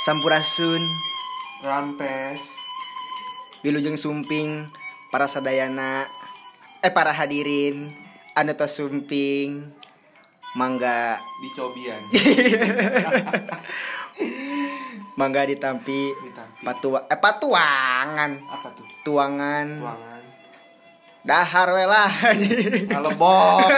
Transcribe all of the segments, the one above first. Sampurasun, Rampes, Wilujeng Sumping, para sadayana, eh para hadirin, anu tos Sumping, mangga dicobian. mangga ditampi, Ditampi. patua eh patuangan, Apa tuh? tuangan, Tuangan. dahar we lah. Ngalebok.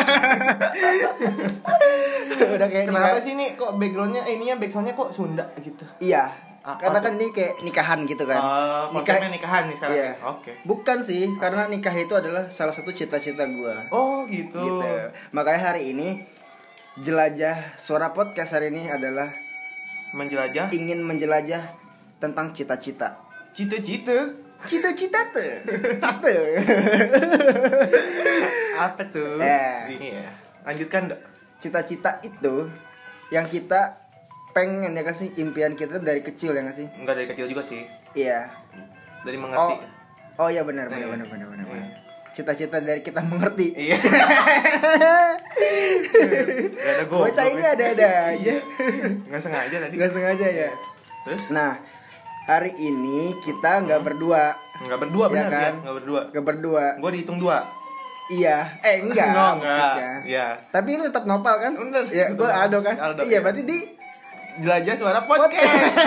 Udah kayak Kenapa nikah- sih Eh, ini kok backgroundnya eh, ininya backsoundnya kok Sunda gitu? Iya, Apa karena kan ini kayak nikahan gitu kan. Oh, konsepnya nikahan nih sekarang. ya? Iya. Oke. Bukan sih, karena nikah itu adalah salah satu cita-cita gua. Oh gitu. Gitu. Makanya hari ini jelajah suara podcast hari ini adalah Menjelajah ingin menjelajah tentang cita-cita. cita-cita. Cita-cita tuh. Cita. Apa tuh? Eh. Ini ya. Lanjutkan dok. Cita-cita itu yang kita pengen ya kan sih impian kita dari kecil ya nggak sih? Enggak dari kecil juga sih. Iya. Dari Oh. mengerti. Oh iya benar benar Iya. benar benar benar. benar. Iya. Cita-cita dari kita mengerti. Iya. Gak ada gue. Bocah ini ada-ada aja. Gak sengaja tadi. Nggak sengaja Iya. ya. Terus? Nah, hari ini kita nggak berdua, Enggak berdua Iya benar kan? ya? Enggak berdua. nggak berdua. Gue dihitung dua. Iya, eh enggak. Enggak, enggak. maksudnya. Iya. Tapi lu tetap nopal kan? Bener. Ya, gue Bener. Aldo kan. Aldo, iya, iya. berarti di Jelajah suara podcast.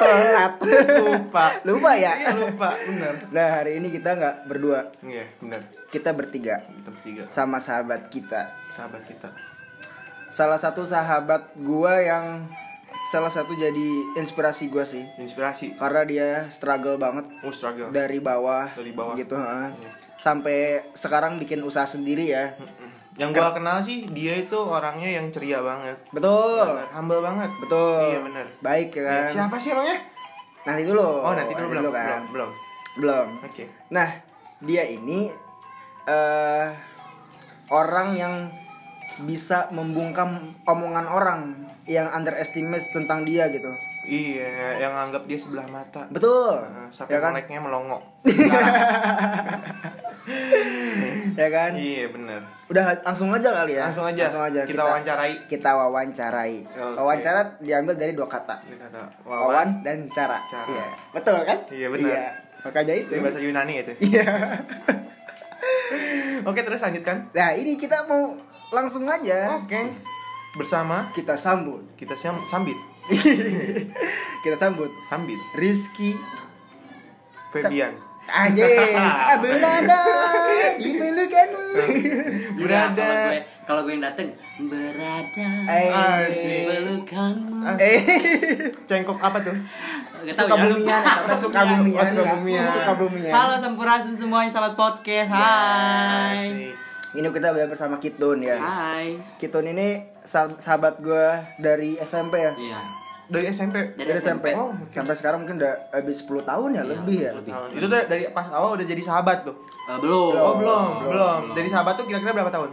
telat. lupa. Lupa ya. Iya lupa, benar. Nah, hari ini kita nggak berdua, Iya, benar. kita bertiga Kita bertiga sama sahabat kita. sahabat kita. Salah satu sahabat gua yang salah satu jadi inspirasi gua sih. Inspirasi. Karena dia struggle banget Oh, struggle. dari bawah, Dari bawah. gitu, heeh. Iya. Sampai sekarang bikin usaha sendiri ya. Mm-mm. Yang gua kenal sih dia itu orangnya yang ceria banget. Betul. Benar, humble banget. Betul. Iya, benar. Baik ya Iya, kan. Siapa sih emangnya? Nanti dulu. Oh, nanti dulu belum, kan. belum, belum. Belum. Oke. Nah, dia ini eh orang yang bisa membungkam omongan orang yang underestimate tentang dia gitu. Iya, yang anggap dia sebelah mata. Betul. ya Nah, Sampai kan? meleknya melongo. Ya kan? iya, benar. Udah langsung aja kali ya. Langsung aja. Kita wawancarai. Kita wawancarai. Oke. Wawancara diambil dari dua kata. Ini kata wawan. Wawan dan cara. Cara. Iya. Betul kan? Iya, benar. Makanya itu. Itu bahasa Yunani itu. Iya. Oke, terus lanjutkan. Nah ini kita mau langsung aja Oke. Bersama kita sambut, kita siam sambit. kita sambut Sambit. Rizky Febian. aja Belanda diperlukan. Berada. Berada. Kalau gue, kalau gue yang dateng, berada. Ah, Eh. Asik. Pelukanmu. Asik. Eh Cengkok apa tuh? Gak tahu suka bumian, ya. suka bumian, Oh, Sukabumian. suka bumian. Halo Sampurasun semuanya sahabat podcast. Hai. Ya, Asik. Ini kita udah bersama Kitun ya. Hai. Kitun ini sah- sahabat gue dari SMP ya. Iya. Dari SMP. Dari SMP. Oh, oke. Sampai sekarang mungkin udah habis 10 tahun ya lebih ya. Iya, lebih. Tahun. Itu dari, dari pas awal udah jadi sahabat tuh. Eh, belum. Oh, belum, belum, Dari sahabat tuh kira-kira berapa tahun?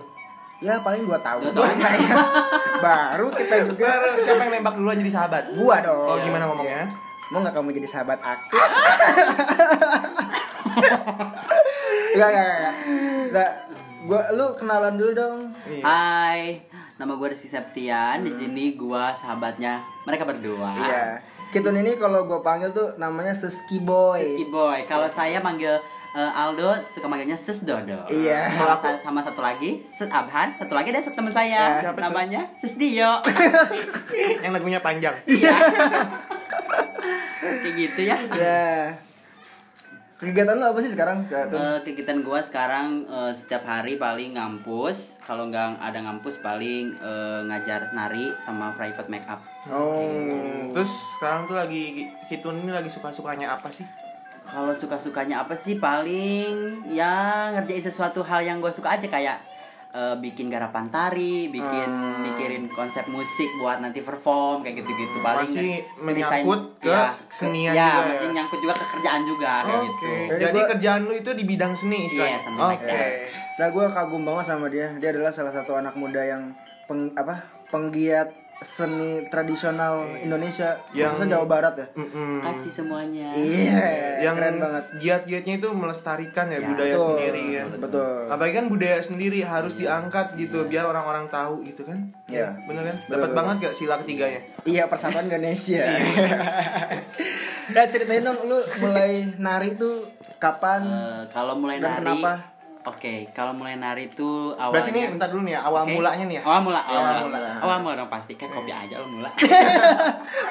Ya paling 2 tahun. Dua tahun. Kayaknya. Baru kita juga Baru siapa yang nembak duluan jadi sahabat? gua dong. Oh, gimana ngomongnya? Mau nggak kamu jadi sahabat aku? Gak, gak, gak, gak. Nah, gua, lu kenalan dulu dong. Iya. Hai. Nama gue Rizky Septian. Di sini gue sahabatnya mereka berdua. Iya. Kitun ini kalau gua panggil tuh namanya Seski Boy. Rizky Boy. Kalau saya manggil eh, Aldo suka manggilnya Sis Dodo. Iya. Kalau sa- sama satu lagi Sis Abhan, satu lagi ada Ya, teman saya siapa tuh? namanya Sis Dio. Yang lagunya panjang. Iya. Kayak gitu ya. Ya. Kegiatan lu apa sih sekarang? Kitun? Eh, kegiatan gua sekarang eh, setiap hari paling ngampus kalau nggak ada ngampus paling eh, ngajar nari sama private make up Oh. Terus sekarang tuh lagi Kitun ini lagi suka-sukanya apa sih? kalau suka sukanya apa sih paling ya ngerjain sesuatu hal yang gua suka aja kayak eh, bikin garapan tari bikin Hmm. mikirin konsep musik buat nanti perform kayak gitu gitu paling Masih ngedesain- menyangkut ke Iya. kesenian Iya, juga ya? masih nyangkut juga ke kerjaan juga kayak Oke. gitu Jadi Jadi gua- kerjaan lu itu di bidang seni istilahnya. Iya, something like Oke. that. Nah, gua kagum banget sama dia. Dia adalah salah satu anak muda yang peng, apa? penggiat seni tradisional Indonesia Iya. Yang- khususnya Jawa Barat ya Mm-mm. Kasih semuanya. iya yang keren banget giat-giatnya itu melestarikan ya, Ya, budaya betul, sendiri kan. betul. Apalagi kan budaya sendiri harus Iya. diangkat gitu biar orang-orang tahu gitu kan. Iya. Bener kan? Dapat banget gak sila ketiganya? iya persatuan Indonesia Iya. nah ceritain dong lu mulai nari tuh kapan Eh, kalau mulai Dan nari. kenapa? Oke, kalau mulai nari itu awalnya. Berarti nih bentar dulu nih ya, awal Oke. mulanya nih ya. Awal mula, awal, Awal mula. mula. Awal mula dong pasti kan kopi aja awal mula.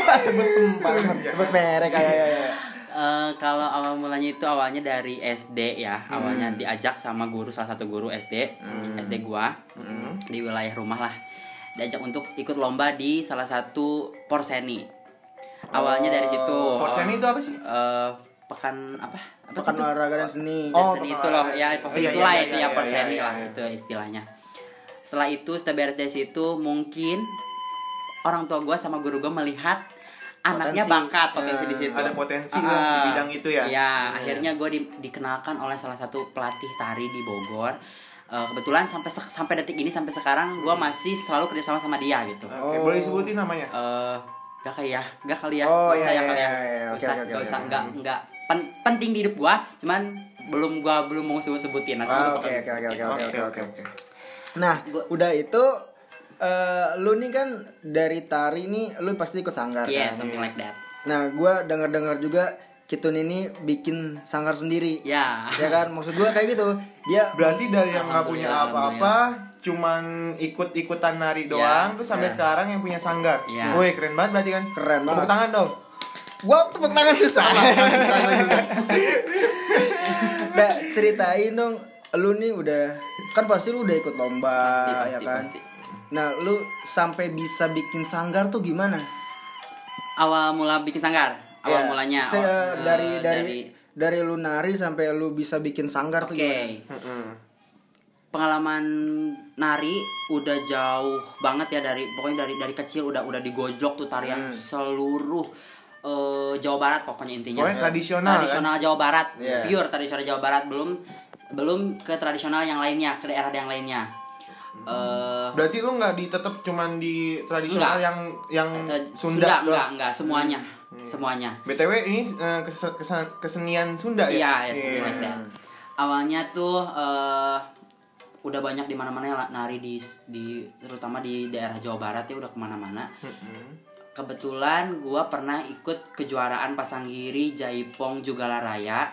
pas Ah. sebut tempat sebut merek ya, ya, ya. Eh, kalau awal mulanya itu awalnya dari SD ya, Hmm. awalnya diajak sama guru salah satu guru SD, SD gua Hmm. di wilayah rumah lah, diajak untuk ikut lomba di salah satu porseni. Awalnya dari situ. Porseni Oh, itu apa sih? Eh, pekan apa? apa pekan tuh? olahraga dan seni Oh, seni pekan itu loh olahraga. ya Iya, pasti iya, itulah iya, itu iya, yang iya, perseni iya, lah iya. itu istilahnya setelah itu setelah beres dari situ mungkin orang tua gue sama guru gue melihat anaknya Potensi. bakat potensi di situ Ya, ada potensi lah di Ah, bidang itu ya? iya akhirnya gue dikenalkan oleh salah satu pelatih tari di Bogor Eh, kebetulan sampai se- sampai detik ini sampai Hmm. sekarang gue masih selalu kerjasama sama dia gitu Oke, Oh. boleh disebutin namanya? eh gak kali ya gak kali ya Oh, Gak usah iya, ya iya, kali ya iya, iya. Gak Oke, usah oke, oke, gak usah oke. gak gak Pen- penting di hidup gua cuman belum gua belum mau sebutin nanti Ah, gua bakal oke oke oke sebutin. oke oke oke nah udah itu eh, lu nih kan dari tari nih lu pasti ikut sanggar yeah kan something like that nah gua denger dengar juga Kitun ini bikin sanggar sendiri ya ya kan maksud gua kayak gitu dia Berarti dari yang nggak punya Alhamdulillah, Ya. apa-apa, cuman ikut-ikutan nari doang, terus sampai sekarang yang punya sanggar. Iya. Woi, keren banget berarti kan? Ya. Keren banget. Tepuk tangan dong. wow tepuk tangan susah Bisa gua juga. Nah, ceritain dong lu nih udah kan pasti lu udah ikut lomba Pasti, pasti, ya kan pasti. nah lu sampai bisa bikin sanggar tuh gimana awal mula bikin sanggar awal Ya, mulanya cer- awal- dari, eh, dari dari lu nari sampai lu bisa bikin sanggar oke tuh gimana Mm-mm. pengalaman nari udah jauh banget ya dari pokoknya dari dari kecil udah udah digojlok tuh Hmm. tarian seluruh eh, Jawa Barat pokoknya intinya Hmm. Pokoknya tradisional, kan? tradisional Jawa Barat Iya. pure tradisional Jawa Barat belum belum ke tradisional yang lainnya ke daerah yang lainnya Hmm. eh Berarti lu nggak ditetep cuman di tradisional Nggak. yang yang eh, Hmm. Sunda, Hmm. enggak doang. enggak semuanya semuanya BTW ini eh, kes- kes- kesenian Sunda ya? Iya, ya, Iya. something like that. Awalnya tuh eh, udah banyak di mana-mana yang nari di di terutama di daerah Jawa Barat ya udah kemana-mana. Kebetulan gua pernah ikut kejuaraan Pasanggiri, Jaipong, Jugala Raya.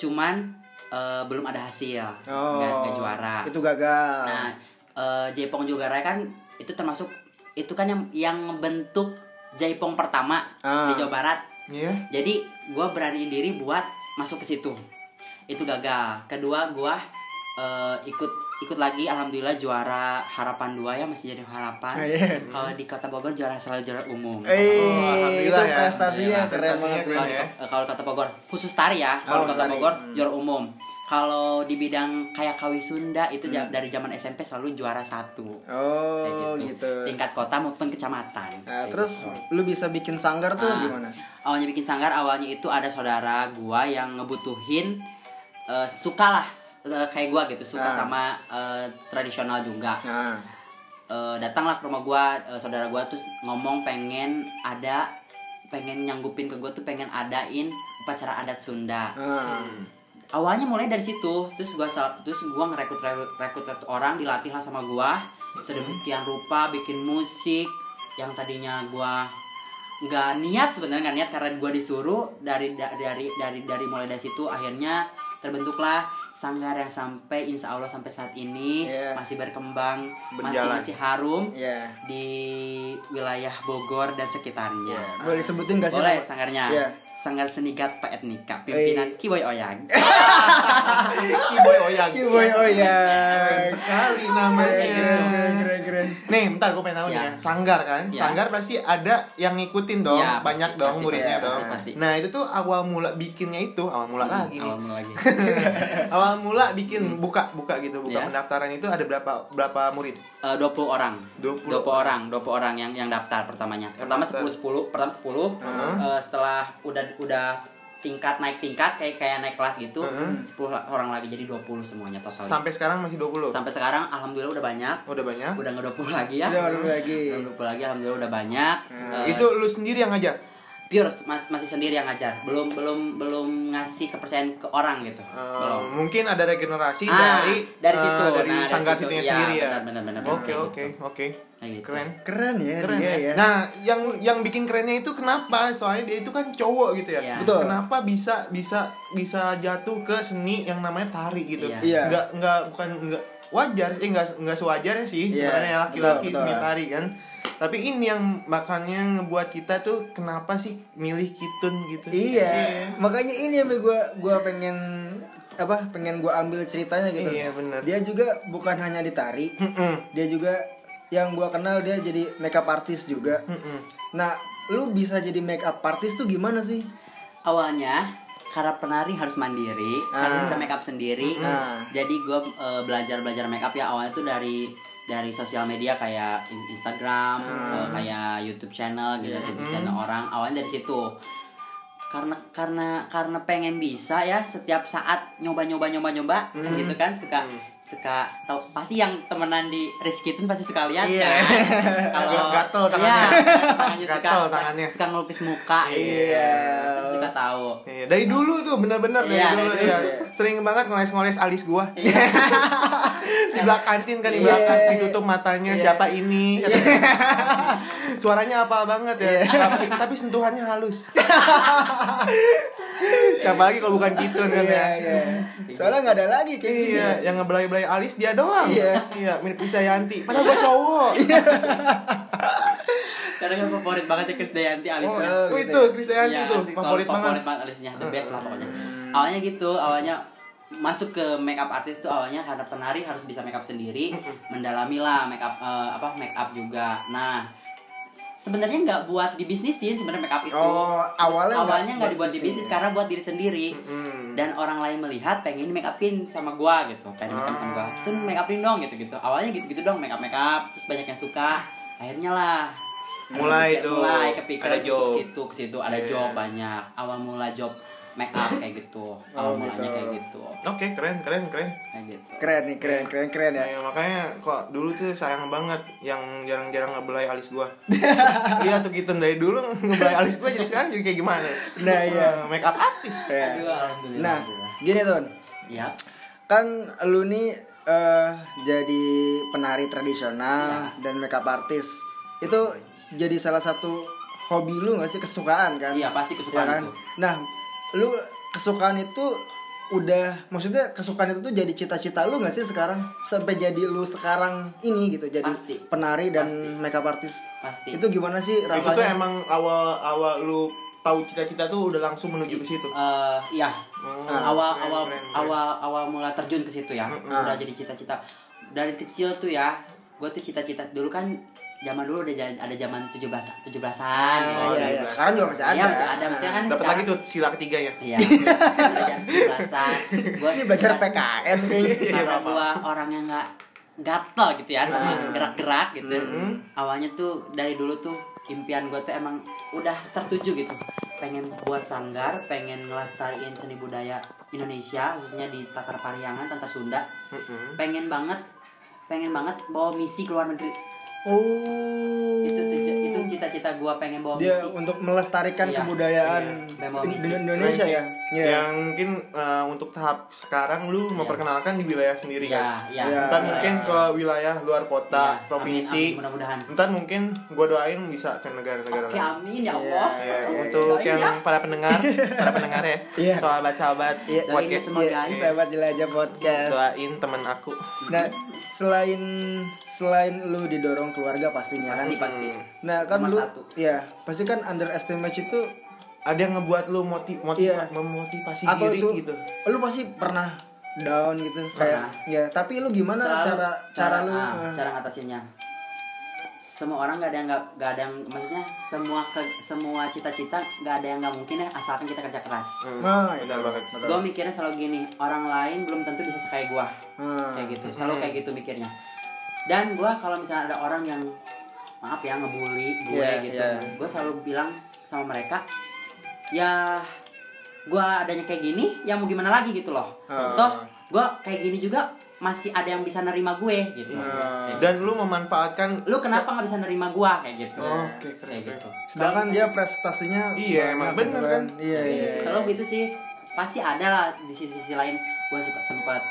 Cuman eh, belum ada hasil, Oh, nggak nggak juara. Itu ah. gagal. Nah, eh, Jaipong Jugala Raya kan itu termasuk itu kan yang yang bentuk Jaipong pertama Ah. di Jawa Barat. Iya. Jadi gue berani diri buat masuk ke situ. Itu gagal. Kedua gue ikut ikut lagi alhamdulillah juara harapan dua ya masih jadi harapan. Ah, iya. Kalau di Kota Bogor juara selalu juara umum. Eh, Oh, itu alhamdulillah ya. Iya, prestasinya Alhamdulillah, keren banget sih. prestasinya Kalau di- ya. eh, kalau di Kota Bogor khusus tari ya. Oh, Kalau di Kota tari. Bogor juara umum. Kalau di bidang kayak kawi Sunda itu ja- dari zaman SMP selalu juara satu. Kayak Hmm. Oh, gitu. Tingkat kota maupun Nah, kecamatan. Kayak terus gitu. lu bisa bikin sanggar tuh Ah. gimana? awalnya bikin sanggar awalnya itu ada saudara gua yang ngebutuhin eh, suka lah eh, kayak gua gitu suka Ah. sama eh, tradisional juga Nah, Eh, datanglah ke rumah gua eh, saudara gua terus ngomong pengen ada pengen nyanggupin ke gua tuh pengen adain upacara adat Sunda nah. Hmm. awalnya mulai dari situ terus gua sal- terus gua ngerekrut rekrut, rekrut orang dilatih lah sama gua Hmm. sedemikian rupa bikin musik yang tadinya gua nggak niat sebenarnya nggak niat karena gua disuruh dari da- dari dari dari mulai dari situ akhirnya terbentuklah sanggar yang sampai insya Allah sampai saat ini Iya. masih berkembang Berjalan. masih masih harum Iya. di wilayah Bogor dan sekitarnya Boleh sebutin gak sih? boleh nama? sanggarnya Iya. sanggar senigat Pak Etnika pimpinan Eh. Kiboy Oyang Kiboy Iya? Oyang. Kiboy oh ya. Keren sekali namanya. Keren keren keren. Nih, bentar gue pengen tahu nih Ya. ya. Sanggar kan? Ya. Sanggar pasti ada yang ngikutin dong, Ya, pasti, banyak dong pasti, muridnya pasti, dong. pasti. Hmm, Nah, itu tuh awal mula bikinnya itu, awal mula lagi nih. awal mula Hmm. lagi awal mula bikin buka buka gitu, buka Ya. pendaftaran itu ada berapa berapa murid? Eh, 20 orang 20 orang 20 orang yang yang daftar Uh-huh. pertamanya Yang pertama daftar. 10 10 pertama 10 eh, setelah udah udah tingkat naik tingkat kayak kayak naik kelas gitu 10 la- orang lagi jadi 20 semuanya total Sampai sekarang masih 20. sampai sekarang alhamdulillah udah banyak Udah banyak. udah nggak 20 lagi ya Udah baru lagi. Udah 20 lagi alhamdulillah udah banyak Eh, Itu lu sendiri yang ngajar. pure mas- masih sendiri yang ngajar belum belum belum ngasih kepercayaan ke orang gitu Eh, belum mungkin ada regenerasi Ah, dari dari eh, situ. dari Nah, dari sanggar situ. situnya Iya, sendiri ya. benar, benar, benar, benar, Oke, kayak oke, oke. Kayak gitu. iya, Keren. Keren ya Keren dia ya. ya. Nah, yang yang bikin kerennya itu kenapa? Soalnya dia itu kan cowok gitu ya. Iya. Betul. Kenapa bisa bisa bisa jatuh ke seni yang namanya tari gitu? Iya. Iya. Nggak nggak bukan nggak wajar sih, eh, nggak nggak sewajarnya sih Iya, sebenarnya ya, laki-laki betul, seni betul. tari kan. Tapi ini yang makanya ngebuat kita tuh kenapa sih milih kitun gitu? Iya. Makanya ini yang gue gua pengen apa? Pengen gua ambil ceritanya gitu. Iya, benar. Dia juga bukan hanya ditari, Mm-mm. dia juga yang gua kenal dia jadi makeup artist juga. Mm-mm. Nah, lu bisa jadi makeup artist tuh gimana sih? awalnya karena penari harus mandiri harus bisa make up sendiri Ah. jadi gue belajar belajar make up ya awalnya tuh dari dari sosial media kayak in- Instagram eh, kayak YouTube channel gitu YouTube channel orang awalnya dari situ karena karena karena pengen bisa ya setiap saat nyoba nyoba nyoba nyoba gitu kan suka suka tau pasti yang temenan di Rizky itu pasti suka lihat Iya. kan kalau Gatel tangannya. Iya, tangannya suka- Gatel tangannya. suka ngelukis muka gitu. Iya. Terus suka tahu Iya, dari dulu tuh benar-benar dari Iya, dulu dari ya. dulu, iya. Sering banget ngoles-ngoles alis gua. Iya. di belakang kantin kan di Iya. belakang ditutup matanya Iya. siapa ini katanya. Suaranya apa banget ya. Tapi, tapi sentuhannya halus. siapa lagi kalau bukan Kitun kan Iya, ya. iya. Soalnya nggak ada lagi kayak gini. Iya, yang ngebelai-belai alis dia doang. Iya. iya mirip Krisdayanti. Padahal gua cowok. Karena kan favorit banget ya Krisdayanti Oh, alisnya. gitu itu Krisdayanti Iya, tuh selalu favorit banget. Hmm. alisnya, the best lah pokoknya. Awalnya gitu, awalnya masuk ke makeup artist tuh awalnya karena penari harus bisa makeup sendiri, Hmm. mendalami lah makeup eh, apa makeup juga. Nah, sebenarnya nggak buat dibisnisin sebenarnya makeup itu. Oh, awalnya nggak awalnya nggak buat dibuat di bisnis ya? bisnis karena buat diri sendiri. Hmm. Dan orang lain melihat pengen make upin sama gua gitu, pengen make up sama gua. Tuh make upin dong gitu gitu. Awalnya gitu gitu dong make up make up, terus banyak yang suka. Akhirnya lah Mulai Kepikir- tuh. mulai kepikiran Ada ada job. Iya. situ ke situ ada job banyak awal mula job make up kayak gitu Oh, awal mulanya kayak gitu Oke, keren keren keren. kayak gitu Keren nih, keren, keren, keren ya. Iya. Ya, makanya kok dulu tuh sayang banget yang jarang-jarang ngebelai alis gua. Iya tuh gitu dari dulu ngebelai alis gua jadi sekarang jadi kayak gimana? Nah, iya. make up artis. Iya. Aduh, alhamdulillah, Nah, alhamdulillah. gini tuh. Yap. Kan lu nih eh, jadi penari tradisional Iya. dan makeup artist. Itu jadi salah satu hobi lu gak sih kesukaan kan? Iya, pasti kesukaan Iya itu. Nah, lu kesukaan itu udah maksudnya kesukaan itu tuh jadi cita-cita lu gak sih sekarang sampai jadi lu sekarang ini gitu jadi Pasti. penari dan Pasti. makeup artist pasti itu gimana sih rasanya Itu tuh emang awal awal lu tahu cita-cita tuh udah langsung menuju ke situ. Oh, Eh, iya awal keren, awal keren, keren. awal awal mula terjun ke situ ya udah jadi cita-cita dari kecil tuh ya gue tuh cita-cita dulu kan zaman dulu ada ja- ada zaman 17 17-an ya. Iya, iya. sekarang juga masih ada Iya, masih ada maksudnya kan Oh, Dapat sekarang- lagi tuh sila ketiga ya. Iya, belajar kebelasan. Gua ini belajar suka- PKN Iya, kayaknya. karena gua orang yang nggak gatel gitu ya sama Nah. gerak-gerak gitu. Mm-hmm. Awalnya tuh dari dulu tuh impian gua tuh emang udah tertuju gitu. Pengen buat sanggar, pengen ngelestariin seni budaya Indonesia khususnya di Tatar Pariangan, Tatar Sunda. Mm-hmm. Hmm. Pengen banget pengen banget bawa misi ke luar negeri. oh Itu tuju- itu cita-cita gua pengen bawa dia misi. untuk melestarikan Iya, kebudayaan iya. Memang di- di misi. Indonesia ya Iya. Yang mungkin eh, untuk tahap sekarang lu memperkenalkan di wilayah sendiri Iya, kan. iya. Iya. Ntar mungkin ke wilayah luar kota, Iya, amin, provinsi. amin, mudah-mudahan. Ntar mungkin gua doain bisa ke negara-negara Oke, lain. amin ya Allah. iya. Ya, untuk Doain yang para pendengar, para pendengar ya, Iya. sahabat-sahabat Doain podcast, semua guys. Iya, sahabat jelajah podcast doain teman aku. nah selain selain lu didorong keluarga pastinya Pasti kan pasti. Hmm. nah kan Nomor lu satu. ya pasti kan underestimate itu Ada yang ngebuat lu motiv, motiv- Iya. memotivasi atau diri itu gitu. lu pasti pernah down gitu Pernah. kayak ya tapi lu gimana Selalu- cara cara, lu ah, eh, cara ngatasinnya semua orang nggak ada yang nggak nggak ada yang maksudnya semua ke, semua cita-cita nggak ada yang nggak mungkin ya asalkan kita kerja keras Hmm, Nah, benar itu. banget. Betul. gue mikirnya selalu gini orang lain belum tentu bisa kayak gua Hmm. kayak gitu selalu kayak gitu mikirnya dan gua kalau misalnya ada orang yang maaf ya ngebully gue Iya, gitu iya. gue selalu bilang sama mereka ya gua adanya kayak gini yang mau gimana lagi gitu loh Ah. toh gua kayak gini juga masih ada yang bisa nerima gue gitu Iya. Kayak- Nah. Ah. Dan lu memanfaatkan lu kenapa nggak bisa nerima gua kayak gitu Oke, keren, kayak keren. gitu Sedangkan Kalau dia prestasinya Iya, emang banyak, bener gitu kan? Iya, iya. misalnya- selalu gitu sih pasti ada lah di sisi-sisi lain gua suka sempat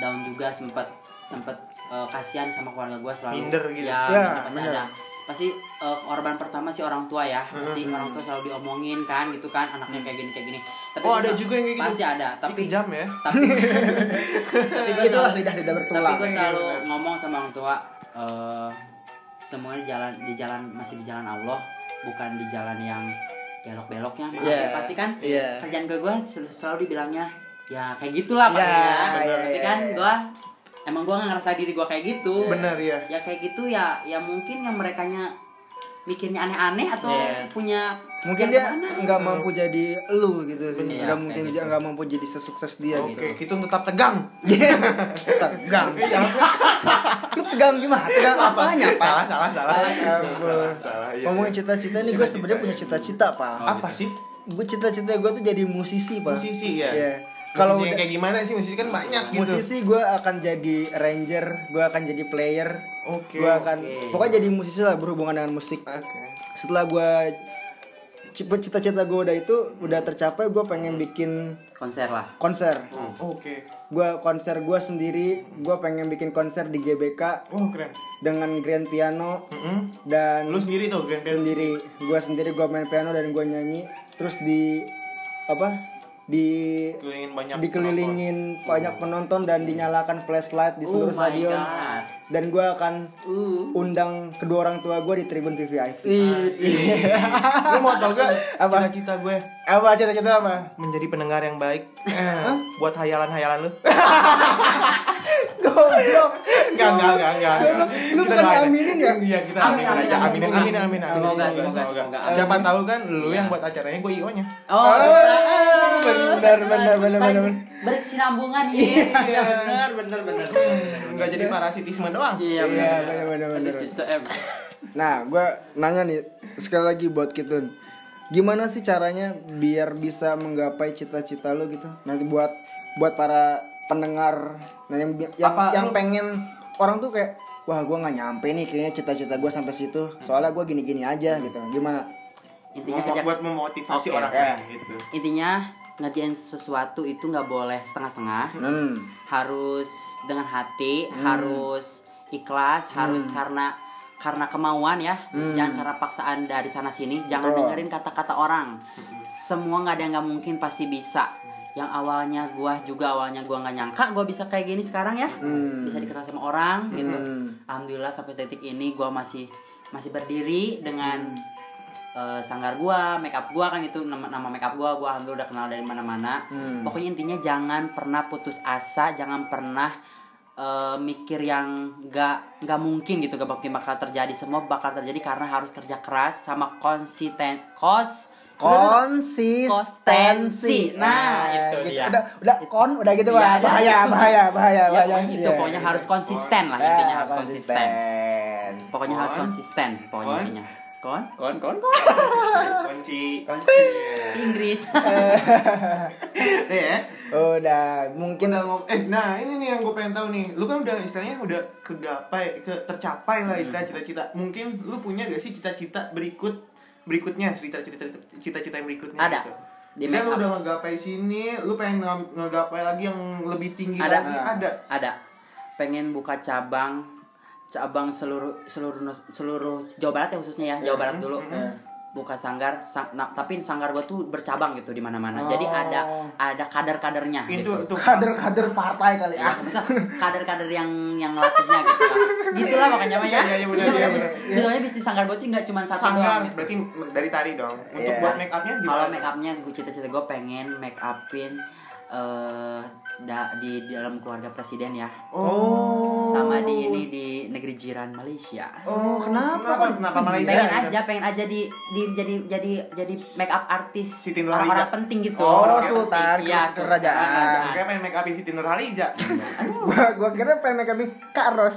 down juga sempat sempat eh, kasihan sama keluarga gua selalu Minder gitu. ya, Ya, minder pasti bener. ada pasti eh, korban pertama sih orang tua ya Hmm, pasti orang tua selalu diomongin kan gitu kan anaknya kayak gini kayak gini tapi Oh, gua ada sa- juga yang kayak gitu. pasti ada tapi Ih, kejam ya. tapi tapi gua iya. Itulah selalu- lidah tidak tapi bertulang. gue selalu Iya, benar. ngomong sama orang tua eh, semuanya di jalan di jalan masih di jalan Allah bukan di jalan yang belok-beloknya maaf Iya. ya pasti kan Iya. kerjaan gue gue sel- selalu dibilangnya ya kayak gitulah Iya, paling ya iya, tapi iya, kan iya. gue emang gue nggak ngerasa diri gue kayak gitu Bener ya. ya kayak gitu ya ya mungkin yang merekanya mikirnya aneh-aneh atau Iya. punya Mungkin dia pikiran kemana. nggak mampu jadi lu gitu sih. Bener. Nggak Iya, mungkin kayak dia gitu. nggak mampu jadi sesukses dia gitu. Iya. Oke, kita tetap tegang. Iya. tegang. lu tegang gimana? Tegang apanya, Pak? Salah, salah, salah. Salah, ya, Salah, salah. iya. Ngomongin cita-cita nih, gue Cita-cita, sebenarnya punya ya. iya. cita-cita, Oh. Pak. Apa sih? Gue cita-cita gue tuh jadi musisi, Pak. Musisi ya. Iya. Kalau Kalau yang udah- kayak gimana sih musisi kan banyak gitu. musisi gue akan jadi ranger, gue akan jadi player, Oke. gue akan oke. pokoknya jadi musisi lah berhubungan dengan musik. Oke. Setelah gue cita-cita gue udah itu udah tercapai, gue pengen bikin konser lah konser. Oke. Gue konser gue sendiri, gue pengen bikin konser di GBK Oh, keren. dengan grand piano Mm-mm. dan Lu sendiri tuh grand piano. sendiri gue sendiri gue main piano dan gue nyanyi terus di apa di Kelilingin banyak dikelilingin banyak penonton dan dinyalakan flashlight di seluruh Oh my stadion God. dan gue akan uh undang kedua orang tua gue di tribun VVIP Iya. penonton. Lu mau tau gak Apa? cita-cita gue? apa cita-cita apa Menjadi pendengar yang baik. Buat hayalan-hayalan lu. goblok Eh, Enggak, enggak, enggak, enggak. enggak. Lu Kita bukan doain. diaminin ya? Iya, kita Amin, aminin amin, aja. amin, Aminin, semoga. amin, amin, amin. Semoga, semoga, semoga. Siapa tahu kan lu yang buat acaranya gue IO-nya. Oh, bener, bener, bener, bener, bener. Berkesinambungan iya, iya, bener, bener, bener. Enggak jadi parasitisme doang. Iya, Iya, bener, bener, bener. Aduh, cucu em. nah gue nanya nih sekali lagi buat Kitun gimana sih caranya biar bisa menggapai cita-cita lu gitu nanti buat buat para pendengar nah, yang yang, Apa yang lu- pengen orang tuh kayak wah gue nggak nyampe nih kayaknya cita-cita gue sampai situ soalnya gue gini-gini aja gitu gimana Intinya Memo- kerja, buat memotivasi Oke, ya. orang oke. lain gitu. intinya ngerjain sesuatu itu nggak boleh setengah-setengah. hmm Harus dengan hati, harus ikhlas, harus karena karena kemauan ya, jangan karena paksaan dari sana sini. Jangan Betul. dengerin kata-kata orang. Semua nggak ada yang nggak mungkin pasti bisa. Yang awalnya gua juga awalnya gua nggak nyangka gua bisa kayak gini sekarang ya. Hmm. bisa dikenal sama orang gitu. Hmm. Alhamdulillah sampai detik ini gua masih masih berdiri dengan eh, sanggar gua, make up gua kan itu nama, nama make up gua, gua alhamdulillah udah kenal dari mana-mana. Hmm. Pokoknya intinya jangan pernah putus asa, jangan pernah eh, mikir yang nggak nggak mungkin gitu, gak mungkin bakal terjadi. Semua bakal terjadi karena harus kerja keras sama konsisten kos konsistensi Nah, itu gitu. dia. udah udah kon udah gitu Iya, Pak. ada. bahaya bahaya bahaya Ya, bahaya pokoknya itu Iya, pokoknya iya. harus konsisten lah Ya, intinya harus konsisten. Pokoknya harus Kon. konsisten pokoknya Kon. intinya. Kon? Kon, kon, Kunci. Inggris. Iya. udah mungkin Udah ngom- eh nah ini nih yang gue pengen tahu nih. Lu kan udah istilahnya udah kegapai, ke tercapai lah istilah Hmm. cita-cita. Mungkin lu punya gak sih cita-cita berikut berikutnya cerita-cerita cita-cita yang berikutnya Ada. gitu. Di Misalnya lu make up. udah ngegapai sini, lu pengen nge- ngegapai lagi yang lebih tinggi Ada. Nah, lagi ada. Ada. Pengen buka cabang cabang seluruh seluruh nos- seluruh Jawa Barat ya khususnya ya, Jawa Barat dulu. Buka sanggar, sang- nah, tapi sanggar gua tuh bercabang gitu di mana-mana. Jadi ada ada kadar-kadernya Itu gitu. itu kader-kader partai kali Ya, ya maksudnya kader-kader yang yang latihnya gitu lah. Gitulah ya. makanya Maya. Iya, iya, iya, benar, iya, benar. Soalnya bisnis sanggar gua tuh nggak cuma satu doang. ya. sanggar berarti dari tari dong. Untuk Iya. buat make upnya juga. kalau ada. make upnya gue cita-cita gue pengen make upin eh da- di, di dalam keluarga presiden ya Oh. sama di ini di negeri jiran Malaysia oh kenapa Kenapa? kan Kenapa Malaysia? iya. pengen aja pengen aja di, di jadi jadi jadi make up artis Siti Nurhaliza. orang-orang penting gitu Oh, Orang-orang Sultan, penting. Iya, Sultan kerajaan. kerajaan. Kayak Nah, pengen make upin Siti Nurhaliza. gua gua kira pengen make upin Kak Ros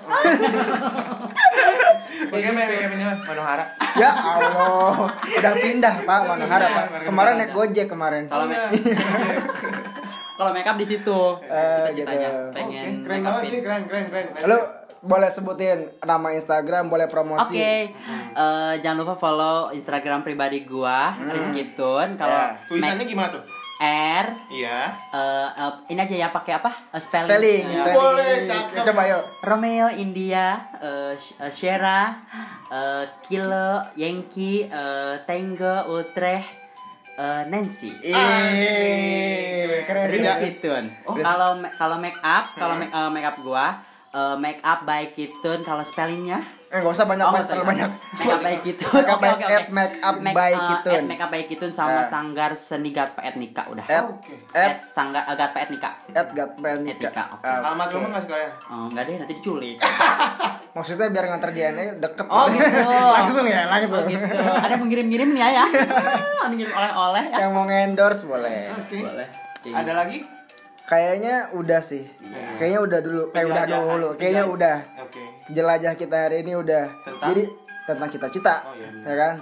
Oke, main kayak ini mah Manohara. Ya Allah, udah pindah Pak Manohara Pak. Pindah, Kemarin pindah. naik Gojek kemarin. Kalau me- kalau makeup di situ Eh, cita-citanya gitu. Oke, pengen keren makeup banget fit. sih, keren, keren, keren. Lu boleh sebutin nama Instagram, boleh Oke, promosi. eh, jangan lupa follow Instagram pribadi gua Rizky Tun. Ya. Kalau Tulisannya gimana tuh? R Iya. eh, eh, ini aja ya pakai apa? Eh, spelling. Spelling, Eh, spelling. Boleh, cakep. Coba yuk. Romeo India, eh, Sh- eh, Shera, eh, Kilo, Yankee, eh, Tango, Ultre, eh, Nancy. Ih, keren ya. Rizky Tun. Oh, kalau ma- kalau make up, kalau make, eh, make up gua eh, make up by Kitun kalau spellingnya Eh enggak usah banyak Oh, Mas, nggak terlalu usah. banyak. Make up by Kitun. Make up Oke, by- oke, oke. at make up Make- by eh, at Kitun. Make up by Kitun sama Eh. Sanggar Senigat Etnika udah. At at At Sanggar eh, Gat Etnika. at Gatpenika. Etika, oke. Ah, Alamat rumah nggak ya? sekalian? Oh, enggak deh nanti diculik. Maksudnya biar ngantar JNE deket Oh, gitu. Langsung ya, Oh langsung gitu. Ada yang ngirim-ngirim nih ya ya. Ada yang ngirim oleh-oleh ya. Yang mau endorse boleh Oke. Boleh. Iya. Ada lagi? Kayaknya udah sih Iya. Kayaknya udah dulu Eh udah Penjelajahan. dulu Kayaknya udah Oke. jelajah kita hari ini udah Tentang? jadi tentang cita-cita Oh, iya. ya kan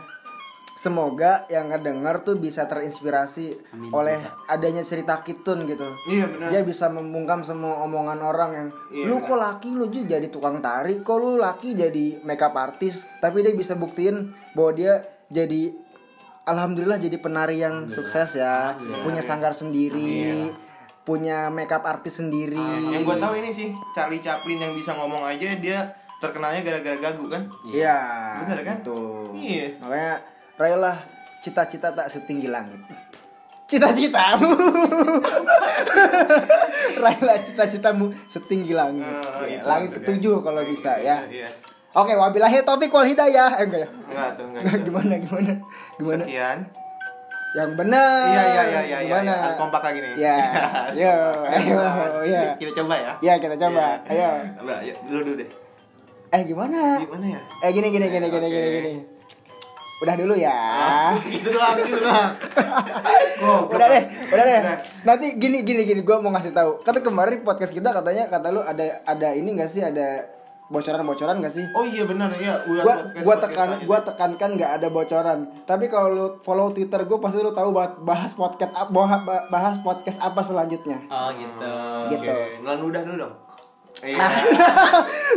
semoga yang ngedengar tuh bisa terinspirasi Amin, oleh semoga. adanya cerita Kitun gitu Iya, benar. dia bisa membungkam semua omongan orang yang Iya, lu benar. kok laki lu Ju, jadi tukang tari kok lu laki jadi makeup artist tapi dia bisa buktiin bahwa dia jadi alhamdulillah jadi penari yang sukses ya punya sanggar sendiri Iya. punya makeup artis sendiri Yang gue tahu ini sih Charlie Chaplin yang bisa ngomong aja dia terkenalnya gara-gara gagu kan? Iya, gitu. Bener kan? Tuh. Iya. Makanya rayalah cita-cita tak setinggi langit. Cita-citamu. rayalah cita-citamu setinggi langit. Eh, Ya, itu langit maksudnya. ketujuh kalau bisa Iya, ya. Iya. Oke, wabillahi taufiq wal hidayah. Eh, enggak ya. Enggak tuh, enggak. gitu. gimana gimana? Gimana? Sekian. Yang benar. Iya, iya, iya, iya, iya. Gimana? Harus kompak lagi nih. Ya. Harus Yo, kompak. ayo, ya. Kita coba ya. Ya, kita coba. Ayo. Iya. Mbak, ya, lu dulu deh. Eh, gimana? Gimana ya? Eh, gini gini gini gini gini Oke. gini. Udah dulu ya. Gitu doang, gitu doang. Goblok. udah deh, udah deh. Oh, Udah. Nanti gini gini gini gua mau ngasih tahu. Kan kemarin podcast kita katanya kata lu ada ada ini enggak sih ada bocoran-bocoran gak sih? Oh iya benar ya. Udah Gua podcast- gua podcast tekan aja. gua tekankan nggak ada bocoran. Tapi kalau lu follow Twitter gua pasti lu tahu bah- bahas podcast ap- bah- bah- bahas podcast apa selanjutnya. Oh gitu. Gitu. Ah, Ah. Oke, nelan udah dulu dong. Iya.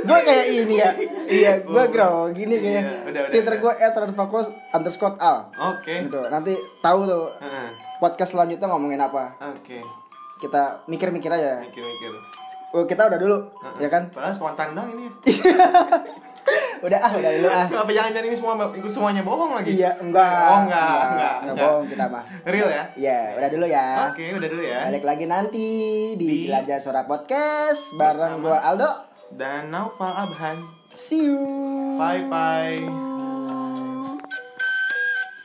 gua kayak ini ya. iya, gua grow gini Iya, kayak. udah, udah, Twitter udah. gua @ranfakus underscore al. Oke. Gitu. Nanti tahu tuh Heeh. podcast selanjutnya ngomongin apa. Oke. Kita mikir-mikir aja. Mikir-mikir. Oh, kita udah dulu, ya kan? Padahal spontan dong ini. Udah ah, udah dulu ah. Apa jangan-jangan ini semua semuanya bohong lagi? Iya, enggak. Iya, Oh, enggak, enggak, Enggak enggak. bohong kita mah. Real ya? Iya, udah dulu ya. Oke, udah dulu ya. Balik lagi nanti di, Di- Jelajah Suara Podcast bareng gua Bersama. Aldo. Dan Naufal Abhan. See you. Bye-bye.